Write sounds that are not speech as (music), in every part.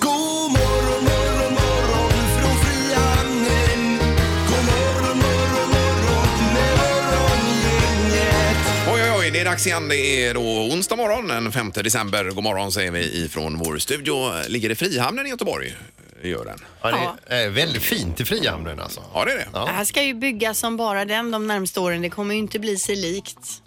God morgon, morgon, morgon från Frihamnen. God morgon, morgon, morgon med morgongänget. Oj, oj, oj, det är dags igen. Det är då onsdag morgon den 5 december. God morgon säger vi ifrån vår studio. Ligger det Frihamnen i Göteborg? Det Gör den. Ja, det är eh, väldigt fint i Frihamnen alltså. Ja, det är det. Ja. Ja. Ja. Det Det här ska ju byggas som bara den de närmaste åren. Det kommer ju inte bli sig likt.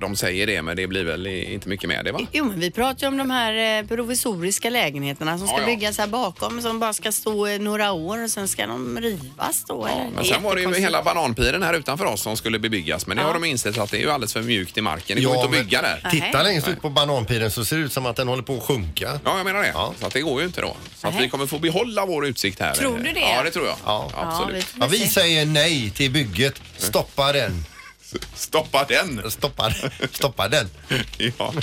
de säger det, men det blir väl inte mycket med det, va? Jo, men vi pratar ju om de här eh, provisoriska lägenheterna som ska Ja, ja. byggas här bakom som bara ska stå eh, några år och sen ska de rivas då. Ja, eller? men sen var det ju Jättekonstigt. hela bananpiren här utanför oss som skulle bebyggas, men det har de insett att det är ju alldeles för mjukt i marken. Det går inte att bygga där. Titta längst ut på bananpiren så ser det ut som att den håller på att sjunka. Ja, jag menar det. Ja. Så att det går ju inte då. Så att Nej. vi kommer få behålla vår utsikt här. Tror du det? Ja, det tror jag. Ja. Ja, vi Absolut. får Ja, vi se. säger nej till bygget. Stoppa den. Stoppa den! Stoppa den. Stoppa den. (laughs) Ja.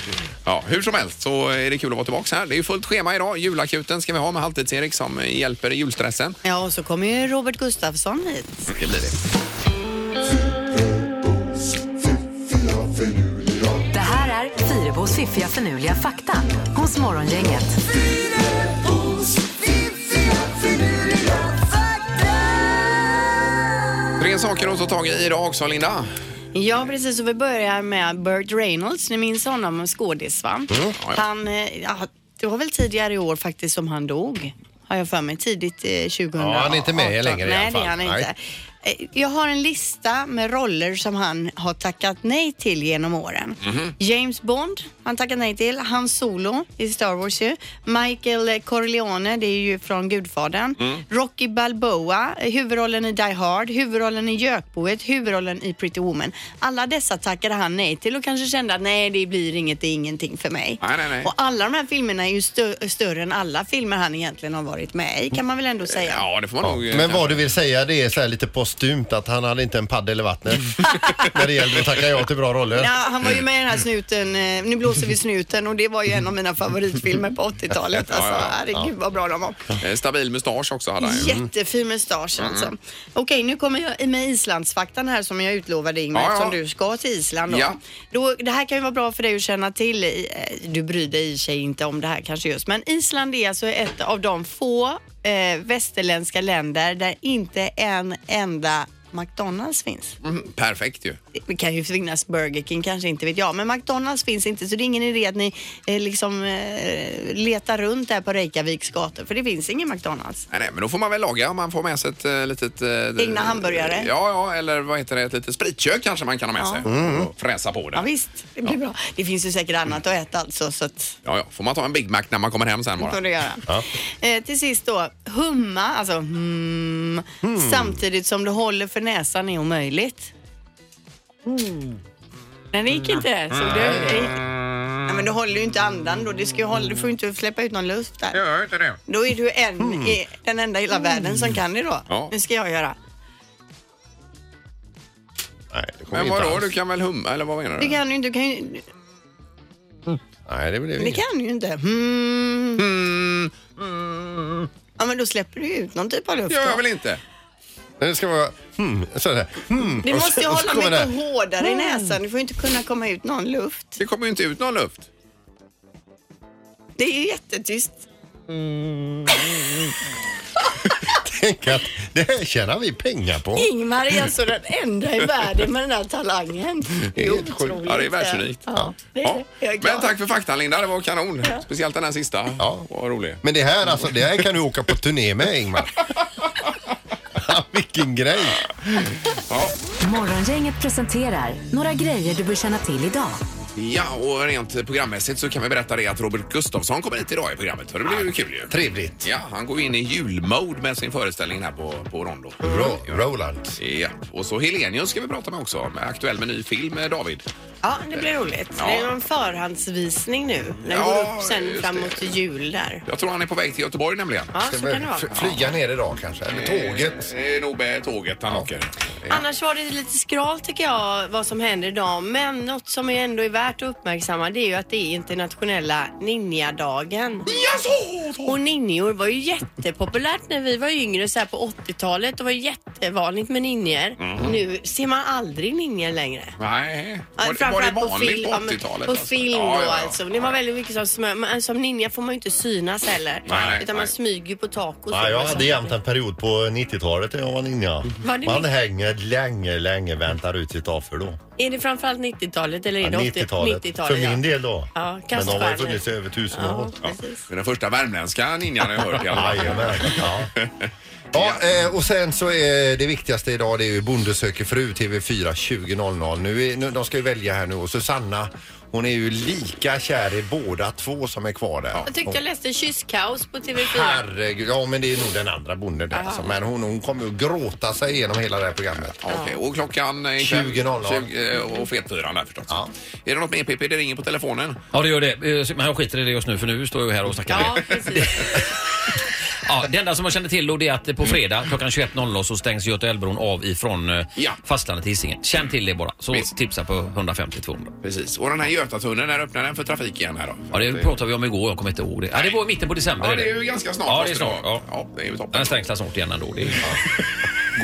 ja, hur som helst så är det kul att vara tillbaka här. Det är ju fullt schema idag. Julakuten ska vi ha med Halvtids-Erik som hjälper i julstressen. Ja, och så kommer ju Robert Gustafsson hit. Mm, Det blir det. Det här är Fyrabos fiffiga förnuliga fakta hos Morgongänget. Fidebos fiffiga finurliga fakta. Tre saker att ta tag i idag också, Linda. Ja, precis. Och vi börjar med Burt Reynolds. Ni minns honom, skådis va? Mm, ja. Han, eh, ja, det var väl tidigare i år faktiskt som han dog. Har jag för mig. Tidigt eh, 2018. Ja, han är inte med längre i alla Nej, det fall. är han inte. Nej. Eh, Jag har en lista med roller som han har tackat nej till genom åren. Mhm. James Bond, han tackat nej till. Han Solo i Star Wars ju. Michael Corleone, det är ju från Gudfadern. Mm. Rocky Balboa, eh, huvudrollen i Die Hard, huvudrollen i Gökboet, huvudrollen i Pretty Woman. Alla dessa tackade han nej till och kanske kände att nej, det blir inget, det är ingenting för mig. Nej, nej, nej. Och alla de här filmerna är ju stö- större än alla filmer han egentligen har varit med i, kan man väl ändå säga. Ja, det får man nog... eh, Men vad du vill säga det är så här lite postumt att han hade inte en paddel i (laughs) vattnet. När det gällde att tacka ja till bra roller. Ja, han var ju med i den här snuten, eh, Nu blåser vi snuten och det var ju en av mina favoritfilmer på 80-talet. Alltså, Ja, Mm. ja, herregud vad bra de var. eh, Stabil mustasch också hade han ju. Jättefin mustasch Mm. alltså. Okej, nu kommer jag med Islandsfaktan här som jag utlovade Ingmar, Ja, ja. eftersom du ska till Island. Då. Ja. Då, det här kan ju vara bra för dig att känna till. eh, Du bryr dig i sig inte om det här kanske just, men Island är alltså ett av de få eh, västerländska länder där inte en enda McDonalds finns. Mm, perfekt ju. Det kan ju finnas Burger King, kanske inte vet jag. Men McDonalds finns inte så det är ingen idé att ni eh, liksom eh, letar runt där på Reykjaviks gator för det finns ingen McDonalds. Nej, nej, men då får man väl laga om man får med sig ett eh, litet... eh, Egna hamburgare. Ja, ja, eller vad heter det? Ett litet spritkök kanske man kan ha med sig. Mm. Och fräsa på det. Ja, visst, det blir bra. Det finns ju säkert annat att äta alltså så att Ja, ja. Får man ta en Big Mac när man kommer hem sen det bara? får du göra. Eh, till sist då, humma, alltså hmm, samtidigt som du håller för näsan är omöjligt. Hmm. Men det gick inte. Så det, det gick. Nej, men du håller ju inte andan då. Det ska ju hålla, du får ju inte släppa ut någon luft där. gör inte det. Då är du en i den enda i hela världen som kan det då. Ja. Nu ska jag göra. Nej, det kommer Men inte vadå, alls. du kan väl humma? Eller vad menar Det du? kan du, inte- du kan ju, Nej, det blev det inget. kan du ju inte. Mm. Ja, men då släpper du ju ut någon typ av luft. Det gör då. jag väl inte? Men Det ska vara hmm, sådär. Hmm. Du och så- måste ju och så hålla kommer mycket det här. hårdare i näsan. Du får ju inte kunna komma ut någon luft. Det kommer ju inte ut någon luft. Det är ju jättetyst. Tänk att det här tjänar vi pengar på. Ingmar är alltså den enda i världen med den här talangen. Det är helt sjukt. otroligt. Ja, det är världsunikt. Ja, det är det. Jag är glad. Men tack för faktan Linda, det var kanon. Speciellt den här sista. Ja. Vad rolig. Men det här alltså, det här kan du åka på turné med (laughs) Ingmar. Vilken grej! Morgongänget presenterar några grejer du bör känna till idag. Ja, och rent programmässigt så kan vi berätta det att Robert Gustafsson kommer hit idag i programmet. Så det blir ju kul ju. Trevligt. Ja, han går in i julmode med sin föreställning här på, på Rondo. Ro Roland. Ja, och så Helenius ska vi prata med också. Med aktuell med ny film, eh, David. Ja, det blir roligt. Ja. Det är en förhandsvisning nu. När Ja, det går upp sen just framåt jul där. Jag tror han är på väg till Göteborg nämligen. Eh, Ja, så kan det vara. Flyga ner idag kanske, eller tåget. Det är nog med tåget han åker. Annars var det lite skralt tycker jag vad som händer idag. Men något som ju ändå är värt att uppmärksamma det är ju att det är internationella ninjadagen. Och ninjor var ju jättepopulärt när vi var yngre så här på 80-talet. Det var ju jättevanligt med ninjor. Mhm. Nu ser man aldrig ninjor längre. Nej. Ja, Var, var det framförallt vanligt på, ja, men 80-talet? På alltså? film Ja, då ja, ja. alltså. Det var väldigt mycket som smö... Men som ninja får man ju inte synas heller. Nej, utan nej. man smyger ju på tak och så. Ja, jag hade jämt en period på 90-talet när jag var ninja. Var det Man ni- hänger länge, länge, väntar ut sitt avför då. Är det framförallt 90-talet eller är det 80 90-talet. 90-talet? För min ja. del då. Ja, Men de har ju kaststjärnor. funnits i över tusen år. Ja, precis. Det är den första värmländska ninjan jag har hört i alla fall. Jajamän. Ja. (laughs) Ja, eh, och sen så är det viktigaste idag det är ju Bonde söker fru TV4 20.00. Nu är, nu, de ska ju välja här nu och Susanna hon är ju lika kär i båda två som är kvar där. Jag tyckte jag läste Kysskaos på Och- TV4. Herregud, ja men det är nog den andra bonden där alltså. Men hon, hon kommer att gråta sig igenom hela det här programmet. Ja, Okej, och klockan är 20.00. 20, eh, och fetfyran där förstås. Ja. Är det något mer Pippi? Det ringer på telefonen. Ja, det gör det. Eh, Men jag skiter i det just nu för nu står jag här och snackar. Ja, med. precis. Ja, det enda som jag känner till då det är att på fredag klockan 21.00 så stängs Göta älvbron av ifrån eh, Ja. fastlandet till Hisingen. Känn till det bara, så Visst. tipsa på 150-200. Precis. Och den här Götatunneln, när öppnar den för trafik igen här då? Ja, det pratade vi om igår, jag kommer inte ihåg det. Ja, det var i mitten på december. Ja, är det är ju ganska snart. Ja, det måste är snart. vara. Ja. ja, det är ju toppen. Den stängs väl snart igen ändå. Det är...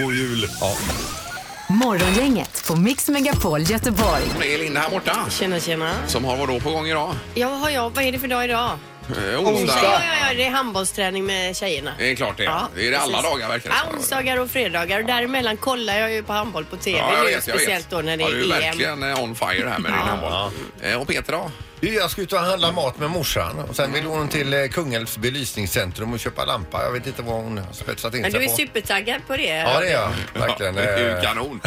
God jul! Ja. Morgongänget på Mix Megapol Göteborg. Det är Linda här borta Tjena, tjena. som har vadå på gång idag? Ja, vad har jag? Vad är det för dag idag? Eh, Ja, ja, onsdag. ja, det är handbollsträning med tjejerna. Det är klart det. Ja, det är det alla precis. dagar verkar det Ja, som. onsdagar och fredagar. Och däremellan kollar jag ju på handboll på TV. Ja, jag nu, vet, jag vet. speciellt då när det ja, du är är EM. verkligen eh, on fire här med din handboll. Eh, Och Peter då? Jag ska ut och handla mat med morsan och sen vill hon till eh, Kungälvs belysningscentrum och köpa lampa. Jag vet inte vad hon har spetsat in Men du sig är på. supertaggad på det. Ja, det är jag. Verkligen. Ja, det är ju Eh, kanon.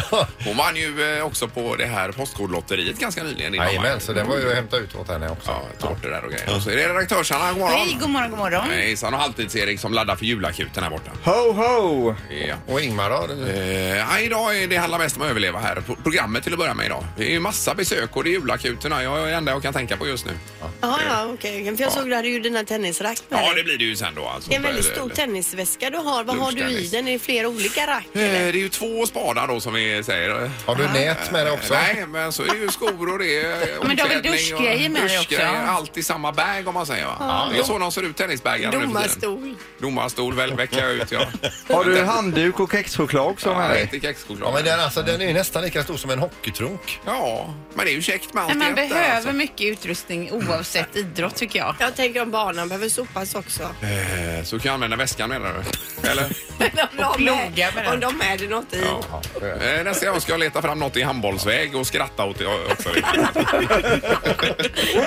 Hon vann ju eh, också på det här postkodlotteriet ganska nyligen. din mamma. Jajamän, så den var ju att hämta ut åt henne också. Ja, tårtor där och grejer. Och så är det redaktörsarna. God morgon. Hej, god morgon, god morgon. Hejsan och halvtids-Erik som laddar för julakuten här borta. Ho, ho! Ja. Och Ingmar då? Eh, ja, idag är det handlar mest om att överleva här. Pro- Programmet till att börja med idag. Det är ju massa besök och det är julakuten. Jag är det enda jag kan tänka på just nu. Ja, ja, okej. För jag såg du hade ju dina tennisrack med Ja, dig. det blir det ju sen då. Alltså. Det är en väldigt stor tennisväska du har. Vad har du i Lunchtennis. den? Är det flera olika rack? Eh, Det eller? är ju två spadar då som vi säger. Eh, Har du nät med dig också? Nej, men så är det ju skor och det är Men du har omklädning väl och duschgrejer med dig också? duschgrejer. Allt i samma bag om man säger va? det är så de ser ut tennisbagarna nu för tiden. Domarstol. Domarstol väl vecklar jag (laughs) ut ja. Har du handduk och kexchoklad också med Jag dig? äter kexchoklad. Ja, men den, alltså, den är ju nästan lika stor som en hockeytrunk. Ja, men det är ju käckt med allt Men man i ett där, behöver alltså. mycket utrustning oavsett idrott tycker jag. Jag tänker om barnen behöver sopas också. Eh, Så kan jag använda väskan menar (laughs) du? Eller? (laughs) Men om, de ploga med är, den. om de är det något i. Ja. Eh, Nästa gång ska jag leta fram något i handbollsväg och skratta åt det också.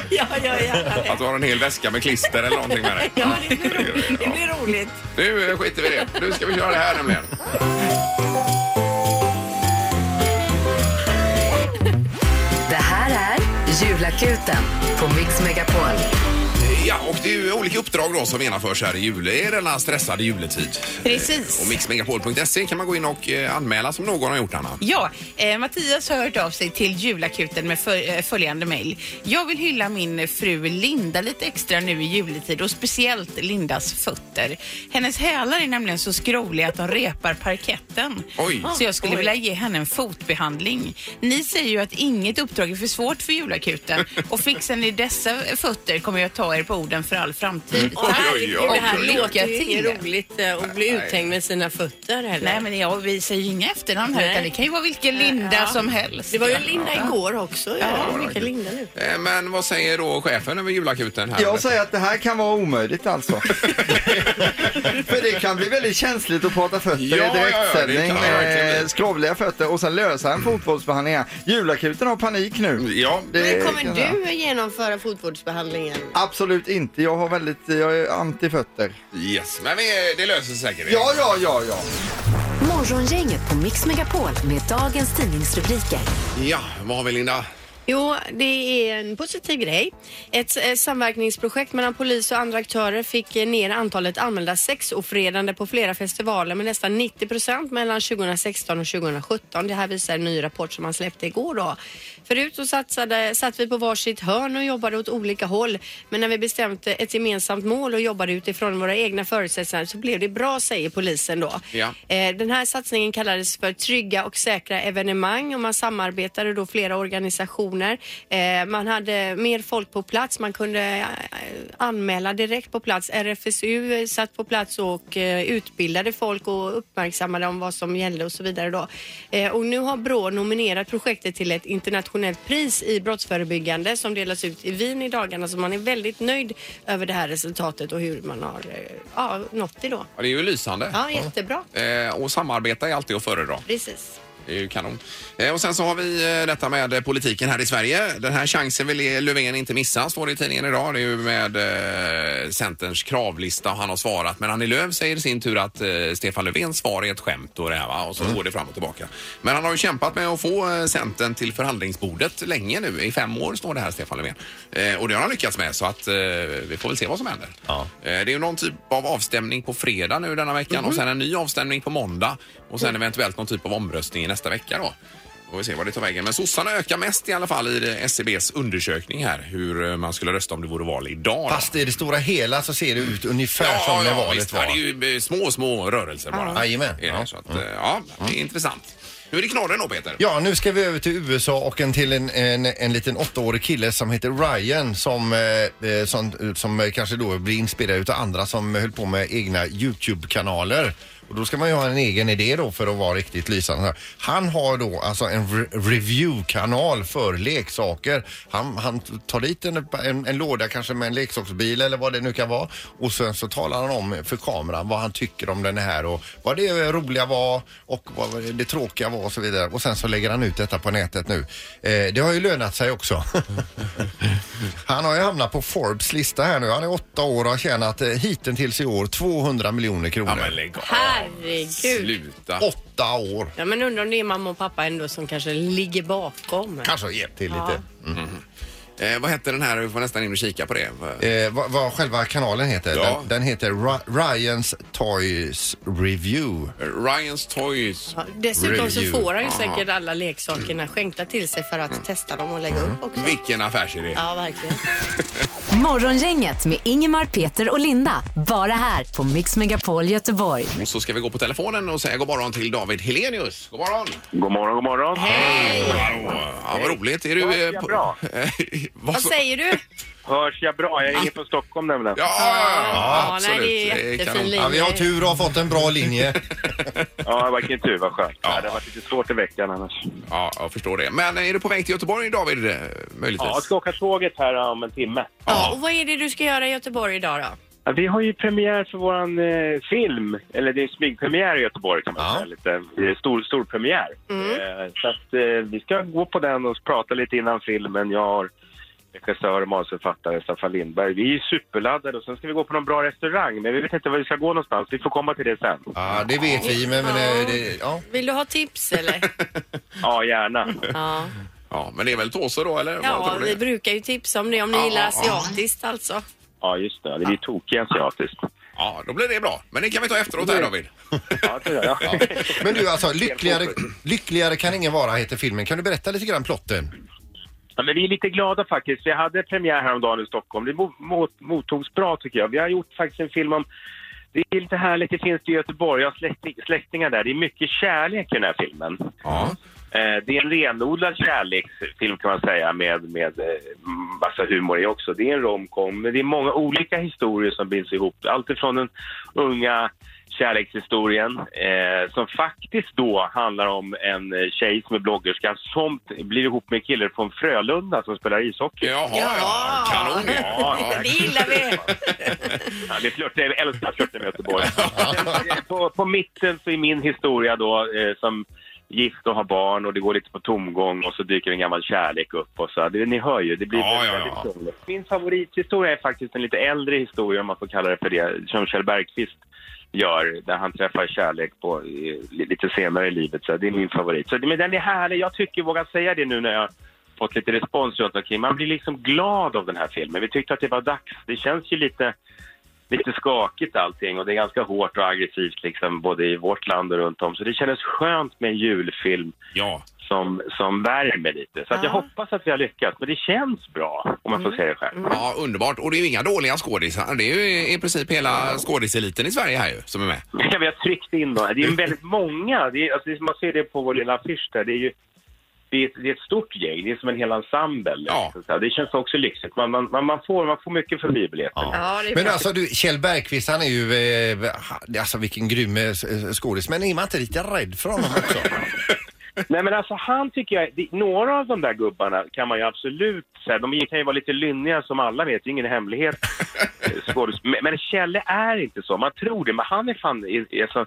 Ja, ja, ja. Att du har en hel väska med klister eller någonting med dig. Ja, det blir roligt. Det blir roligt. Nu eh, skiter vi i det. Nu ska vi köra det här nämligen. Det här är Julakuten på Mix Megapol. Ja, och det är ju olika uppdrag då som genomförs här i jul. Är det denna stressade juletid? Precis. Och mixmegapol.se kan man gå in och eh, anmäla som någon har gjort, Anna. Ja, eh, Mattias har hört av sig till julakuten med för, eh, följande mejl. Jag vill hylla min fru Linda lite extra nu i juletid och speciellt Lindas fötter. Hennes hälar är nämligen så skrovliga att de repar parketten. Oj. Så jag skulle Oj. vilja ge henne en fotbehandling. Ni säger ju att inget uppdrag är för svårt (laughs) för julakuten och fixar ni dessa fötter kommer jag ta er på orden för all framtid. Oj, oj, oj, Herregud, oj, Det här oj, oj. låter ju inget Lycka till. roligt eh, att bli uthängd med sina fötter heller. Nej men jag, vi säger ju inga efternamn här Nej. utan det kan ju vara vilken Linda Ja. som helst. Det var ju Linda igår också. Ja, vilken Linda nu. Eh, Men vad säger då chefen över julakuten? Här? Jag säger att det här kan vara omöjligt (laughs) alltså. För det kan bli väldigt känsligt att prata fötter Ja, ja, ja, i det direktsändning kan det verkligen med bli. skrovliga fötter och sen lösa Mm. en fotbollsbehandling här. Julakuten har panik nu. Ja, Det Men kommer kan jag säga. du genomföra fotvårdsbehandlingen? Absolut inte. Jag har väldigt, jag är anti fötter. yes. Men vi, det löser sig säkert. Ja, ja, ja, ja. Morgongänget på Mix Megapol med dagens tidningsrubriker. Ja, vad har vi Linda? Jo, det är en positiv grej. Ett eh, samverkningsprojekt mellan polis och andra aktörer fick eh, ner antalet anmälda sexofredande på flera festivaler med nästan 90 procent mellan 2016 och 2017. Det här visar en ny rapport som man släppte igår då. Förut så satsade, satt vi på varsitt hörn och jobbade åt olika håll. Men när vi bestämde ett gemensamt mål och jobbade utifrån våra egna förutsättningar så blev det bra, säger polisen då. Ja. Eh, Den här satsningen kallades för Trygga och säkra evenemang och man samarbetade då flera organisationer. Eh, Man hade mer folk på plats, man kunde eh, anmäla direkt på plats. RFSU satt på plats och eh, utbildade folk och uppmärksammade om vad som gällde och så vidare då. Eh, Och nu har Brå nominerat projektet till ett internationellt pris i brottsförebyggande som delas ut i Wien i dagarna så man är väldigt nöjd över det här resultatet och hur man har eh, ja, nått det då. Ja, det är ju lysande. Ja, jättebra. Eh, och samarbeta är alltid att föredra. Precis. Det är ju kanon. Eh, och sen så har vi eh, detta med eh, politiken här i Sverige. Den här chansen vill Löfven inte missa, står det i tidningen idag. Det är ju med eh, Centerns kravlista och han har svarat. Men Annie Lööf säger i sin tur att eh, Stefan Löfvens svar är ett skämt och det här va? Och så går det fram och tillbaka. Men han har ju kämpat med att få eh, Centern till förhandlingsbordet länge nu. I fem år står det här Stefan Löfven. Eh, och det har han lyckats med så att eh, vi får väl se vad som händer. Eh, det är ju någon typ av avstämning på fredag nu denna veckan Mhm. och sen en ny avstämning på måndag och Mm. sen eventuellt någon typ av omröstning i nästa vecka då. Får vi se vad det tar vägen. Men sossarna ökar mest i alla fall i det- SCBs undersökning här hur eh, man skulle rösta om det vore val idag. då. Fast i det stora hela så ser det ut ungefär som när valet visst. var. Ja, Det är ju eh, små, små rörelser bara. Ja. Jajamän. Är det, så att, eh, ja, det är intressant. Nu är det knorren då Peter. Ja, nu ska vi över till USA och en till en, en, en liten åttaårig kille som heter Ryan som, eh, eh, som, som eh, kanske då blir inspirerad av andra som höll på med egna YouTube-kanaler. Och då ska man ju ha en egen idé då för att vara riktigt lysande. Han har då alltså en re- review-kanal för leksaker. Han, han tar dit en, en, en låda kanske med en leksaksbil eller vad det nu kan vara och sen så talar han om för kameran vad han tycker om den här och vad det roliga var och vad det tråkiga var och så vidare. Och sen så lägger han ut detta på nätet nu. Eh, det har ju lönat sig också. (laughs) han har ju hamnat på Forbes lista här nu. Han är åtta år och har tjänat eh, hittills i år 200 miljoner kronor. Herregud. Sluta. Åtta år. Ja, men undrar om det är mamma och pappa ändå som kanske ligger bakom. Kanske har hjälpt till lite. Mhm. Eh, vad hette den här? Vi får nästan in och kika på det. Eh, vad, vad själva kanalen heter? Ja. Den, den heter Ry- Ryans Toys Review. Ryans Toys Dessutom så får han ju Aha. säkert alla leksakerna skänkta till sig för att testa dem och lägga upp också. Vilken affärsidé. Ja, verkligen. Morgongänget med Ingemar, Peter och Linda. Bara här på Mix Megapol Göteborg. Och så ska vi gå på telefonen och säga god morgon till David Helenius. God morgon! God morgon, god morgon. Hej! Ja, vad roligt. Är du... Hörs eh, jag på- bra? (laughs) Vad så- säger du? Hörs jag bra? Jag ringer från Stockholm nämligen. Ja, ja, Ja, nej, det är jättefin linje. Ja, vi har tur och har fått en bra linje. (laughs) Ja, verkligen tur. Vad skönt. Ja. Det har varit lite svårt i veckan annars. Ja, jag förstår det. Men är du på väg till Göteborg, David? eh, Möjligtvis? Ja, jag ska åka tåget här om en timme. Ja, och vad är det du ska göra i Göteborg idag då? Ja, vi har ju premiär för våran eh, film. Eller det är smygpremiär i Göteborg kan man säga. Lite eh, stor, stor premiär. Mm. Eh, så att eh, vi ska gå på den och prata lite innan filmen. Jag har regissör och manusförfattare Staffan Lindberg. Vi är ju superladdade och sen ska vi gå på någon bra restaurang. Men vi vet inte var vi ska gå någonstans. Vi får komma till det sen. Ja, det vet vi, men... men eh, det, ja. Vill du ha tips eller? (laughs) Ja, gärna. Ja, Ja, men det är väl Tåse då, eller? Vad ja tror vi ni? brukar ju tipsa om det om ni Ja, gillar ja. asiatiskt alltså. Ja, just det. Det blir tokiga asiatiskt. Ja, då blir det bra. Men det kan vi ta efteråt här, David. Ja, det gör jag. (laughs) Men du, alltså, lyckligare, lyckligare kan ingen vara heter filmen. Kan du berätta lite grann plotten? Ja, men vi är lite glada faktiskt. Vi hade premiär häromdagen i Stockholm. Det mo- mot- mottogs bra tycker jag. Vi har gjort faktiskt en film om... Det är lite härligt, det finns det i Göteborg. Jag har släkti- släktingar där. Det är mycket kärlek i den här filmen. Eh, Det är en renodlad kärleksfilm kan man säga med, med eh, massa humor i också. Det är en romcom, men det är många olika historier som binds ihop. Allt ifrån den unga kärlekshistorien eh, som faktiskt då handlar om en eh, tjej som är bloggerska som t- blir ihop med en kille från Frölunda som spelar ishockey. Jaha, ja. Kanon. Ja, ja. Det gillar vi! Ja, vi flörtar, jag älskar att flörta (laughs) med Göteborg. på, på mitten så är min historia då eh, som gift och har barn och det går lite på tomgång och så dyker en gammal kärlek upp och så. Det, ni hör ju, det blir Ja, ja, väldigt ja. krångligt. Min favorithistoria är faktiskt en lite äldre historia om man får kalla det för det, som Kjell Bergqvist gör där han träffar kärlek på, eh, lite senare i livet. Så det är min favorit. Så, det- men den är härlig. Jag tycker, vågar säga det nu när jag fått lite respons runt omkring. Man blir liksom glad av den här filmen. Vi tyckte att det var dags. Det känns ju lite lite skakigt allting och det är ganska hårt och aggressivt liksom både i vårt land och runt om. Så det kändes skönt med en julfilm Ja. som, som värmer lite. Så att jag Ja. hoppas att vi har lyckats, men det känns bra om man får säga det själv. Ja, underbart. Och det är ju inga dåliga skådisar. Det är ju i princip hela skådiseliten i Sverige här ju som är med. Ja, vi har tryckt in dem. Det är ju väldigt många. Det är, alltså, det är- man ser det på vår lilla affisch där. Det är ju det är, ett- det är ett stort gäng. Det är som en hel ensemble. liksom, så här. Det känns också lyxigt. Man, man, man, man, får, man får mycket för bibiljetten. Men alltså du, Kjell Bergqvist han är ju, eh, ha- alltså vilken grym eh, s- eh, skådis. Men är man inte lite rädd för honom också? Nej, men alltså han tycker jag... Det, några av de där gubbarna kan man ju absolut säga. De kan ju vara lite lynniga som alla vet. Det är ingen hemlighet. eh, skådis- men, men Kjelle är inte så. Man tror det, men han är fan... i- i- Alltså,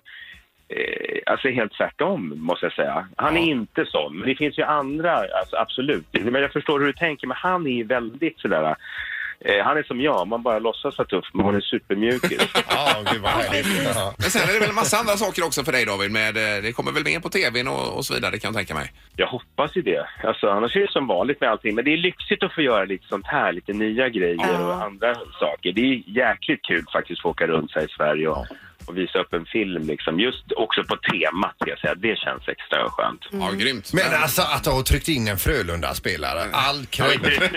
eh, alltså helt tvärtom, måste jag säga. Han är inte sån. Men det finns ju andra, alltså, absolut. Men jag förstår hur du tänker, men han är ju väldigt sådär... Eh, han är som jag, man bara låtsas vara tuff, men hon är supermjukis. (laughs) ja, gud vad härligt. Men sen är det väl en massa andra saker också för dig David. Med, eh, det kommer väl med på tvn och, och så vidare kan jag tänka mig. Jag hoppas ju det. Alltså, annars är det som vanligt med allting. Men det är lyxigt att få göra lite sånt här, lite nya grejer och andra saker. Det är jäkligt kul faktiskt att få åka runt här i Sverige och, och visa upp en film. Liksom. Just också på temat, ska jag säga. det känns extra skönt. Ja, grymt. Men alltså att ha tryckt in en Frölunda-spelare. All cred.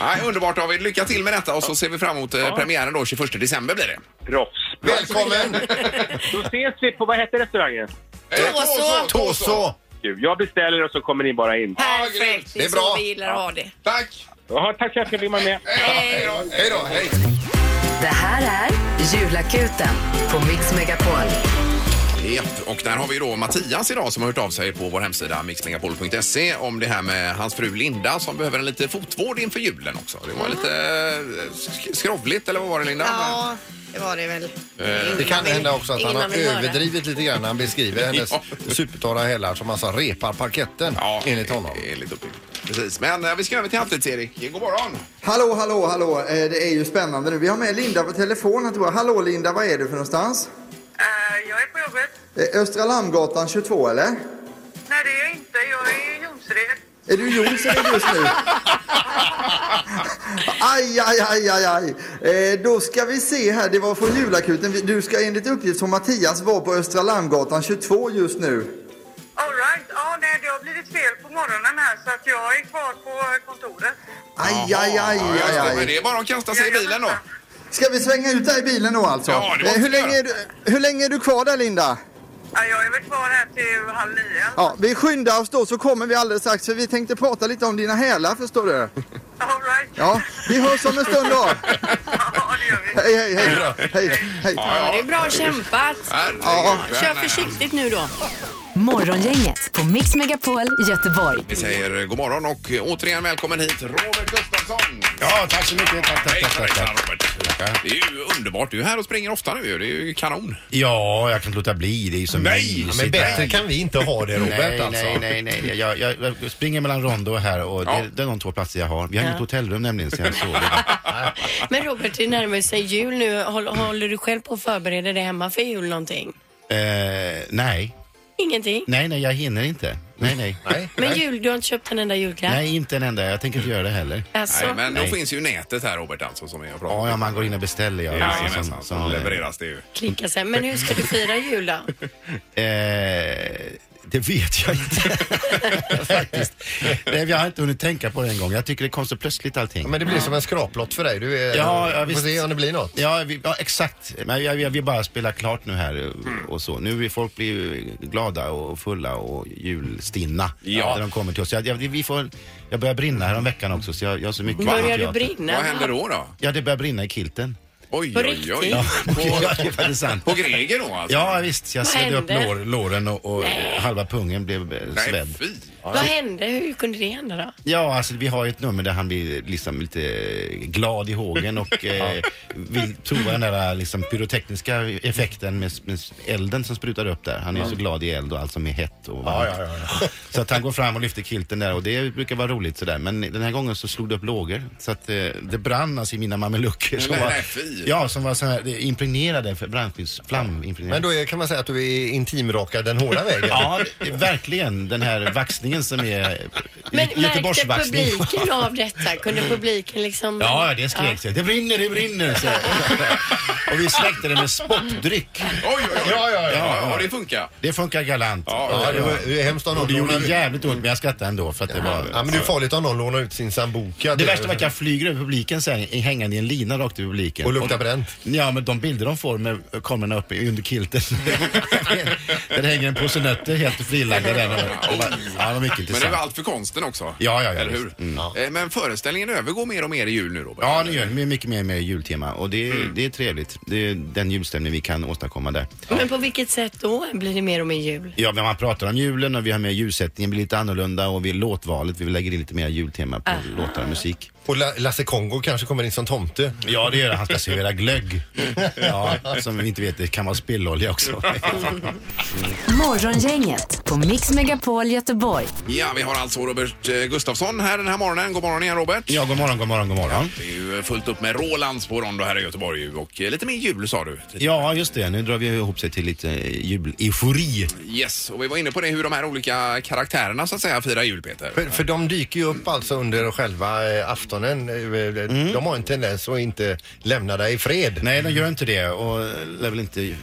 Nej, underbart David. Lycka till med detta och så ser vi fram emot eh, premiären då 21 december blir det. Proffs. Välkommen! Då ses vi på, vad heter restaurangen? Tåså! Tåså! Gud, Jag beställer och så kommer ni bara in. Perfekt, det är, Det är så bra. vi gillar att ha det. Tack! Jaha, tack för att jag fick vara med. Hej då! Hej då! Hej! Det här är Julakuten på Mix Megapol. Japp, och där har vi då Mattias idag som har hört av sig på vår hemsida mixmegapol.se om det här med hans fru Linda som behöver en lite fotvård inför julen också. Det var lite eh, sk- skrovligt eller vad var det Linda? Ja, det var det Eh, väl. Det kan vill- hända också att han ingen har vill höra. överdrivit lite grann när han (laughs) beskriver hennes supertorra hälar som alltså repar parketten enligt honom. eh, Enligt uppgift. Precis, men eh, vi ska över till Halvtids-Erik. God morgon! Hallå, hallå, hallå. Eh, Det är ju spännande nu. Vi har med Linda på telefonen tror jag. Hallå Linda, vad är du för någonstans? Jag är på jobbet. Eh, Östra Lammgatan 22 eller? Nej, det är jag inte. Jag är i Jonsered. Är du i Jonsered just nu? (laughs) Aj, aj, aj, aj, aj. Eh, då ska vi se här, det var från julakuten. Vi- Du ska enligt uppgift från Mattias vara på Östra Lammgatan 22 just nu. Alright. Ja, nej, det har blivit fel på morgonen här så att jag är kvar på kontoret. Aj, aj, aj, Ja, just aj, det, Men aj. det är bara att kasta sig i bilen då. Ska vi svänga ut där i bilen då alltså? Ja, det måste Eh, hur, vi länge göra. är du, hur länge är du kvar där Linda? Ja, jag är väl kvar här till halv nio. Ja, vi skyndar oss då så kommer vi alldeles strax för vi tänkte prata lite om dina hälar förstår du. (laughs) Ja, vi hörs om en stund då. Hej, hej, hej. hej, hej. Ja, det är bra kämpat. Ja. Kör försiktigt nu då. Morgongänget på Mix Megapol Göteborg. Vi säger god morgon och eh, återigen välkommen hit Robert Gustafsson. Ja, tack så mycket. Tack, tack, tack, tack, Robert. Det är ju underbart. Du är här och springer ofta nu ju. Det är ju kanon. Ja, jag kan inte låta bli. Det är ju så Nej, mysigt. men bättre här. kan vi inte ha det, Robert, nej, alltså. Nej, nej, nej. Jag, jag, jag springer mellan Rondo och här och Ja. det, det är de två platser jag har. Vi har Ja. inget hotellrum (laughs) nämligen så jag sover. Men Robert, det närmar sig jul nu. Håll- Håller du själv på och förbereder dig hemma för jul någonting? eh, nej, Ingenting? nej, nej, jag hinner inte. Nej, nej. nej, Men jul, du har inte köpt en enda julklapp? nej inte en enda. Jag tänker inte göra det heller. Alltså. Nej, men då Nej. finns ju nätet här Robert alltså som vi har pratat om. Ja, ja, man går in och beställer. Ja, Liksom, Jajamensan, så levereras det ju. Klicka sen. Men hur ska du fira jul då? Eh, det vet jag inte (laughs) faktiskt. Nej, jag har inte hunnit tänka på det en gång. Jag tycker det kom så plötsligt allting. Men det blir som en skraplott för dig. Du är, Ja, ja, vi får visst. se om det blir något. Ja, vi, ja exakt. Men jag, jag vill bara spela klart nu här eh, Mm. och, och så. Nu vill folk bli ju glada och fulla och julstinna Ja. när de kommer till oss. Jag, jag, vi får, jag börjar brinna här om veckan också så jag, jag har så mycket Börjar på du teatern. brinna? Vad händer då då? Ja, det börjar brinna i kilten. Oj, På oj, oj. riktigt? Ja, ja, (laughs) det är faktiskt sant. På Greger då alltså? Ja, visst. Jag Vad svedde upp hände? lår, låren och, och Nej. halva pungen blev eh, Nej, svedd. fy. Vad hände? Hur kunde det hända då? Ja, alltså vi har ju ett nummer där han blir liksom lite glad i hågen och eh, vill prova den där liksom pyrotekniska effekten med, med elden som sprutar upp där. Han är ju så glad i eld och allt som är hett och varmt. ja, (laughs) Så att han går fram och lyfter kilten där och det brukar vara roligt sådär. Men den här gången så slog det upp lågor så att eh, det brann alltså i mina mamelucker som Nej, var, nej, fy. ja, som var så här, det- impregnerade, för- brandskyddsflam impregnerade. Men då är, kan man säga att du är intimrakad den hårda vägen. Ja, verkligen. Den här vaxningen Kungen som är Men märkte Göteborgsvaxning. (laughs) publiken av detta? Kunde publiken liksom... Ja, det skrek sig. Det brinner, det brinner. Så. (laughs) Och vi släckte det med sportdryck. Oj, oj, oj. Ja, ja, ja. det funkar. Det funkar galant. Ja, det var- det är hemskt om någon Och det gjorde lånar- jävligt ont, men jag skrattade ändå för att det var... Ja, men det är farligt om någon lånar ut sin sambuca. Det värsta var att jag flyger över publiken så här, hängande i en lina rakt över publiken. Och luktar bränt. Ja, men de bilder de får med kamerorna uppe under kilten. där det hänger en påse nötter helt frilagda där. Det var- Ja, det var mycket Men det intressant. var allt för konsten också. Ja, ja, ja. Eller hur? visst. Mm. Eh, Men föreställningen övergår mer och mer i jul nu Robert. Ja, det gör det. Det är mycket mer med jultema och det, Mm. det är trevligt. Det är den julstämning vi kan åstadkomma där. Men på vilket sätt då blir det mer och mer jul? Ja, men man pratar om julen och vi har med ljussättningen blir lite annorlunda och vi låtvalet, vi lägger in lite mer jultema på låtar och musik. Och La- Lasse Kongo kanske kommer in som tomte. Ja, det gör det. Han ska servera glögg. Ja, som vi inte vet, det kan vara spillolja också. Morgongänget på Mix Megapol Göteborg. Ja, vi har alltså Robert eh, Gustafsson här den här morgonen. God morgon igen Robert. Ja, god morgon, god morgon, god morgon. Det är ju eh, fullt upp med Rolands på Rondo här i Göteborg ju. och eh, lite mer jul sa du. Ja, just det. Nu drar vi ihop sig till lite eh, juleufori. Yes, och vi var inne på det hur de här olika karaktärerna så att säga firar jul Peter. För, för de dyker ju upp alltså under själva eh, aftonen. Eh, De har en tendens att inte lämna dig i fred. Mm. Nej, de gör inte det och lär väl inte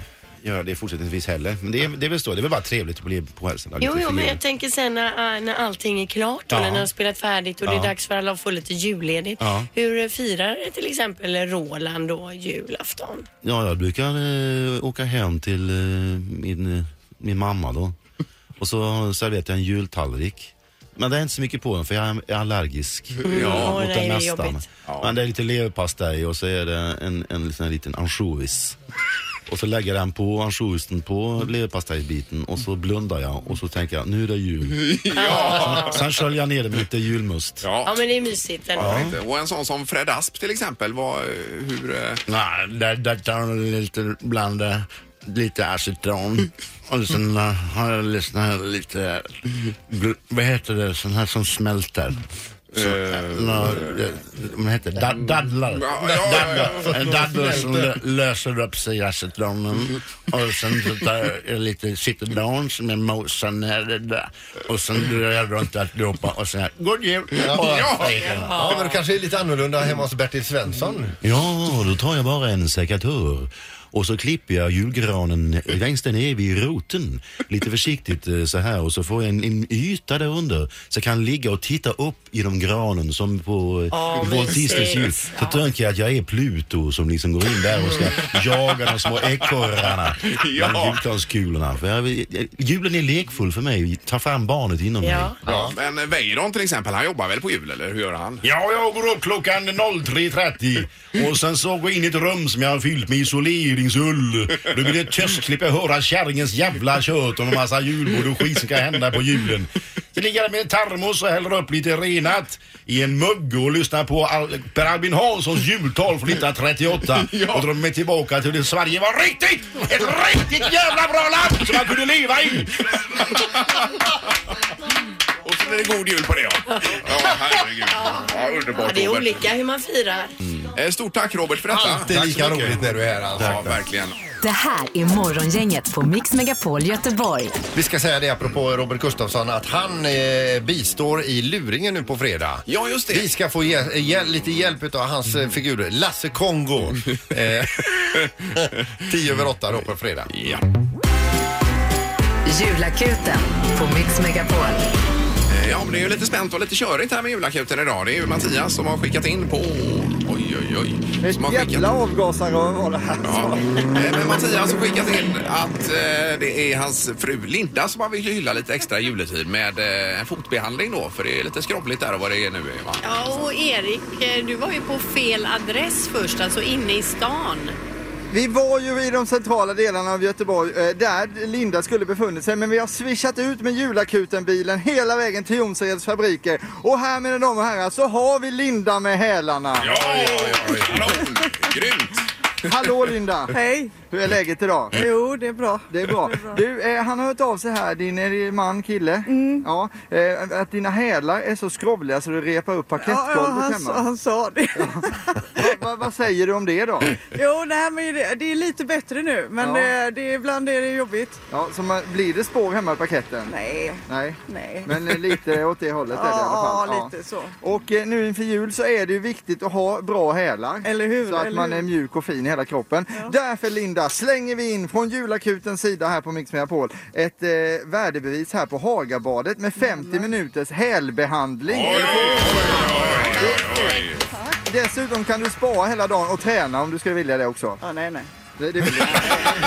göra det fortsättningsvis heller. Men det är, det är väl så. Det är väl bara trevligt att bli påhälsad. av Jo, lite jo, men figur. jag tänker sen när, äh, när allting är klart Ja. och när ni har spelat färdigt och det Ja. är dags för alla att få lite julledigt. Ja. Hur firar till exempel Roland då julafton? Ja, jag brukar eh, åka hem till eh, min, eh, min mamma då. Och så serverar jag en jultallrik. Men det är inte så mycket på den för jag är- är allergisk. Mm. Åh, mot nej, det är det mesta. jobbigt. Men det är lite leverpastej och så är det en, en, liten- en liten ansjovis. Och så lägger jag den på ansjovisen på leverpastejbiten och så blundar jag och så tänker jag nu är det jul. Ja. Sen, sen sköljer jag ner det med lite julmust. Ja, men det är mysigt ändå. Ja. inte. Och en sån som Fred Asp till exempel, var, eh, hur... eh, Nej, där, där tar jag lite, blanda (laughs) lite acetron. Och sen eh, har jag lyssnat lite, bl- vad heter det, sån här som smälter. Så, Eh, nå, eh, vad heter det? Da- dadlar. Ja, ja, ja, ja. Dadlar. En daddel som lö- löser upp sig i acetronen. Och sen så tar jag lite citron som är mosad ner i det där. Och sen drar jag runt alltihopa och sen God jul! Ja. Och- Ja. ja, men det kanske är lite annorlunda hemma hos Bertil Svensson. Ja, då tar jag bara en sekatör och så klipper jag julgranen längst där nere vid roten. Lite försiktigt eh, så här och så får jag en, en yta där under så jag kan ligga och titta upp genom granen som på Åh, oh, Walt Disneys mysigt. jul. Så tänker jag att jag är Pluto som liksom går in där (laughs) och ska jaga de små ekorrarna bland julgranskulorna. För jag, julen är lekfull för mig. Ta fram barnet inom mig. Ja. Men eh, Weiron till exempel, han jobbar väl på jul eller hur gör han? Ja, jag går upp klockan 03.30 och sen så går jag in i ett rum som jag har fyllt med isoleringsull. Då blir det töstklipp, jag höra kärringens jävla kött och en massa julbord och skit som kan hända på julen. Så ligger jag med en termos och häller upp lite renat i en mugg och lyssnar på Al- Per Albin Hanssons jultal från 1938 och drar mig tillbaka till det Sverige var riktigt, ett riktigt jävla bra land som man kunde leva i. Och så blir det god jul på det ja. (laughs) Ja, herregud. Ja, Ja, underbart det är Robert. olika hur man firar. Eh, Stort tack Robert för detta. Alltid Tack så lika mycket. roligt när du är här, alltså. Ja, verkligen. Det här är Morgongänget på Mix Megapol Göteborg. Vi ska säga det apropå Robert Gustafsson att han eh, bistår i luringen nu på fredag. Ja, just det. Vi ska få hje- hjäl- lite hjälp av hans eh, figur Lasse Kongo. (laughs) Eh, (laughs) Tio över åtta då på fredag. Ja. Julakuten på Mix Megapol. Eh, Ja, men det är ju lite spänt och lite körigt här med julakuten idag. Det är ju Mattias som har skickat in på... Oj, oj, oj. Som har skickat... Jävla avgasarör var det här. Ja. Eh, Men Mattias har skickat in att eh, det är hans fru Linda som han vill hylla lite extra i juletid med eh, en fotbehandling då. För det är lite skrovligt där och vad det är nu är va? Ja, och Erik, eh, du var ju på fel adress först, alltså inne i stan. Vi var ju i de centrala delarna av Göteborg eh, där Linda skulle befunnit sig men vi har swishat ut med julakuten-bilen hela vägen till Jonsereds fabriker och här mina damer och herrar så har vi Linda med hälarna. Ja, ja, ja, ja. Kanon! Grymt! Hallå Linda! Hej. Hur är läget idag? Jo, det är bra. Det är bra. Du, eh, han har hört av sig här, din eh, man, kille. Ja, eh, att dina hälar är så skrovliga så du repar upp Ja, ja, parkettgolvet han, hemma. han sa det. Vad- vad- vad säger du om det då? (laughs) Jo, nej, men det, det är lite bättre nu, men Ja. det, det, ibland är det jobbigt. Ja, så man, blir det spår hemma i parketten? Nej. Nej. Nej. Men (laughs) eh, lite åt det hållet är det i alla Ja, fall. lite så. Och eh, nu inför jul så är det ju viktigt att ha bra hälar. Eller hur, Så att eller man hur. är mjuk och fin i hela kroppen. Därför Linda slänger vi in från julakutens sida här på Mix Megapol ett eh, värdebevis här på Hagabadet med 50 minuters hälbehandling. Dessutom kan du spara hela dagen och träna om du skulle vilja det också. Ja, nej, nej. Det, det vill jag.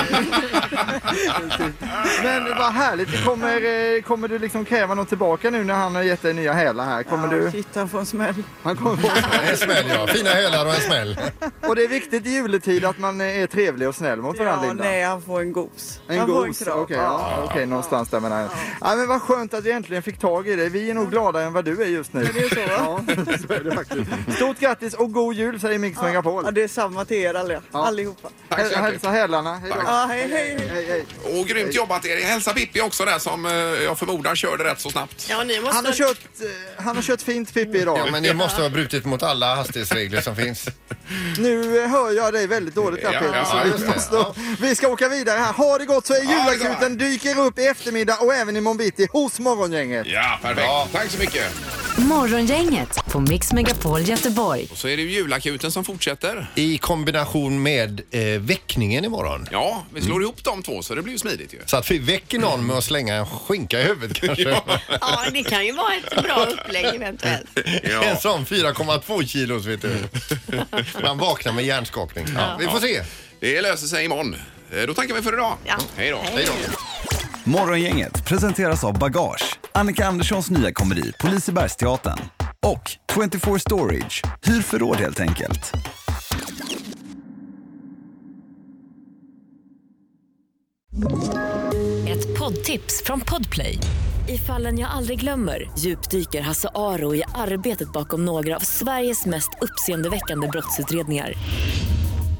(laughs) Men vad härligt, det kommer, eh, kommer du liksom kräva något tillbaka nu när han har gett dig nya hälar här? Kommer Ja, du... Shit, han får en smäll. Han kommer få En smäll ja, fina hälar och en smäll. Och det är viktigt i juletid att man eh, är trevlig och snäll mot varandra Ja, Linda. nej, han får en gos. En han får gos, okej, krav. ja, okej, någonstans där menar jag. Ja. men vad skönt att vi äntligen fick tag i dig. Vi är nog gladare än vad du är just nu. Men det är så, va? (laughs) Ja, så är det faktiskt. Stort grattis och god jul säger Mix Megapol. Ja, det är samma till er alla, allihopa. Tack så Häl- hjärtligt. hälsa hälarna. Hej då. Ja, hej, hej, hej. Och grymt jobbat er. Hälsa Pippi också där som eh, jag förmodar körde rätt så snabbt. Ja, ni Han har, kört, eh, han har kört fint Pippi idag. Ja, men ni måste ha brutit mot alla hastighetsregler som finns. Nu eh, hör jag dig väldigt dåligt där Ja, Peter, ja, så just vi, det. måste, vi ska åka vidare här. Ha det gott så är julakuten dyker upp i eftermiddag och även i Monbiti hos Morgongänget. Ja, perfekt. Tack så mycket. Morgongänget på Mix Megapol Göteborg. Och så är det ju julakuten som fortsätter. I kombination med eh, väckningen imorgon. Ja, vi slår ihop de två så det blir ju smidigt ju. Så att vi väcker någon med att slänga en skinka i huvudet kanske. Ja, det kan ju vara ett bra upplägg eventuellt. (laughs) En sån 4,2 kilos vet du. Man vaknar med hjärnskakning. Ja, vi får se. Det löser sig imorgon. Eh, Då tackar vi för idag. Ja. Hej då. Hej då. Morgongänget presenteras av Bagage, Annika Anderssons nya komedi på Lisebergsteatern och 24 Storage, hyr förråd helt enkelt. Ett poddtips från Podplay. I fallen jag aldrig glömmer djupdyker Hasse Aro i arbetet bakom några av Sveriges mest uppseendeväckande brottsutredningar.